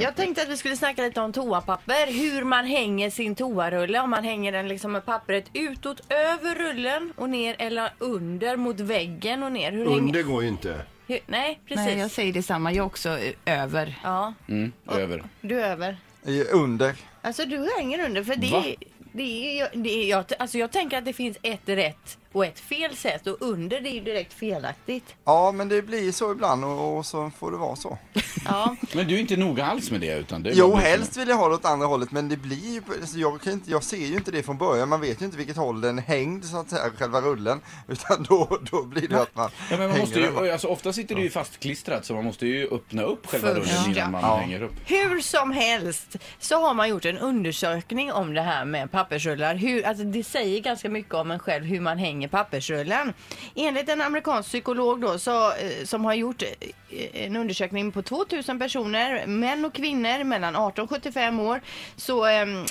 Jag tänkte att vi skulle snacka lite om toapapper. Hur man hänger sin toarulle. Om man hänger den liksom med pappret utåt över rullen och ner eller under mot väggen och ner. Hur hänger... Under går ju inte. Hur... Nej, precis. Nej, jag säger detsamma. Jag också eh, över. Ja, Över. du är över. I- Under. Alltså du hänger under för Va? det, det, är, det är, jag, alltså, jag tänker att det finns ett rätt och ett fel sätt och under det är ju direkt felaktigt. Ja, men det blir så ibland och, och så får det vara så. Ja, Men du är inte noga alls med det utan det är Jo, bara- helst vill jag ha det åt andra hållet, men det blir ju... Alltså jag, kan inte, jag ser ju inte det från början, man vet ju inte vilket håll den är hängd, så att säga, själva rullen. Utan då, då blir det att man Ja, men man hänger måste ju, den. alltså, ofta sitter det ju fastklistrat så man måste ju öppna upp själva Först, rullen innan man ja. hänger upp. hur som helst så har man gjort en undersökning om det här med pappersrullar. Hur, alltså, det säger ganska mycket om en själv hur man hänger pappersrullen. Enligt en amerikansk psykolog då, så, eh, som har gjort eh, en undersökning på 2000 personer, män och kvinnor mellan 18 och 75 år, så ehm,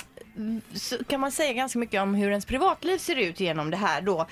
så kan man säga ganska mycket om hur ens privatliv ser ut genom det här då.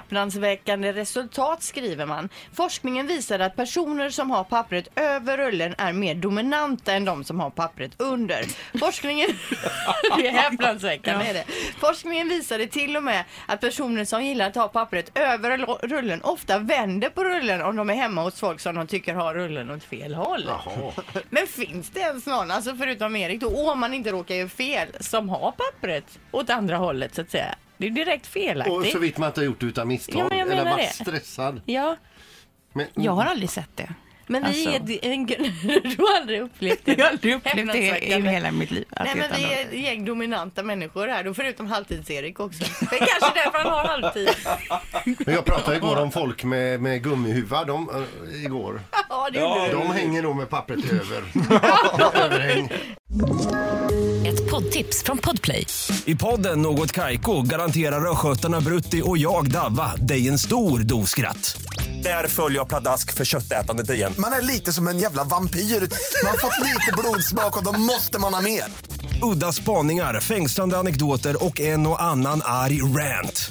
Häpnadsväckande resultat skriver man. Forskningen visar att personer som har pappret över rullen är mer dominanta än de som har pappret under. Forskningen... det är häpnadsväckande är det. Forskningen visade till och med att personer som gillar att ha pappret över rull- rullen ofta vänder på rullen om de är hemma hos folk som de tycker har rullen åt fel håll. Men finns det ens någon, alltså förutom Erik då, och om man inte råkar göra fel, som har pappret åt andra hållet så att säga? Det är ju direkt Och felaktigt. så vitt man inte har gjort det utan misstag. Ja, men jag eller menar varit det. stressad. Ja, Men, Jag har aldrig sett det. men vi Alltså. är en... du har aldrig upplevt det. Jag har aldrig upplevt det i Häpnadsväckande. hela mitt liv. att Nej men veta vi något. är ett gäng dominanta människor här då, förutom halvtids-Erik också. Det är kanske därför han har halvtid. men jag pratade igår om folk med, med gummihuva. De, eh, igår. Ja, det gjorde De hänger nog med pappret över. Överhäng. Ett poddtips från Podplay. I podden Något Kaiko garanterar östgötarna Brutti och jag, Davva, dig en stor dos skratt. Där följer jag pladask för köttätandet igen. Man är lite som en jävla vampyr. Man har fått lite blodsmak och då måste man ha mer. Udda spaningar, fängslande anekdoter och en och annan arg rant.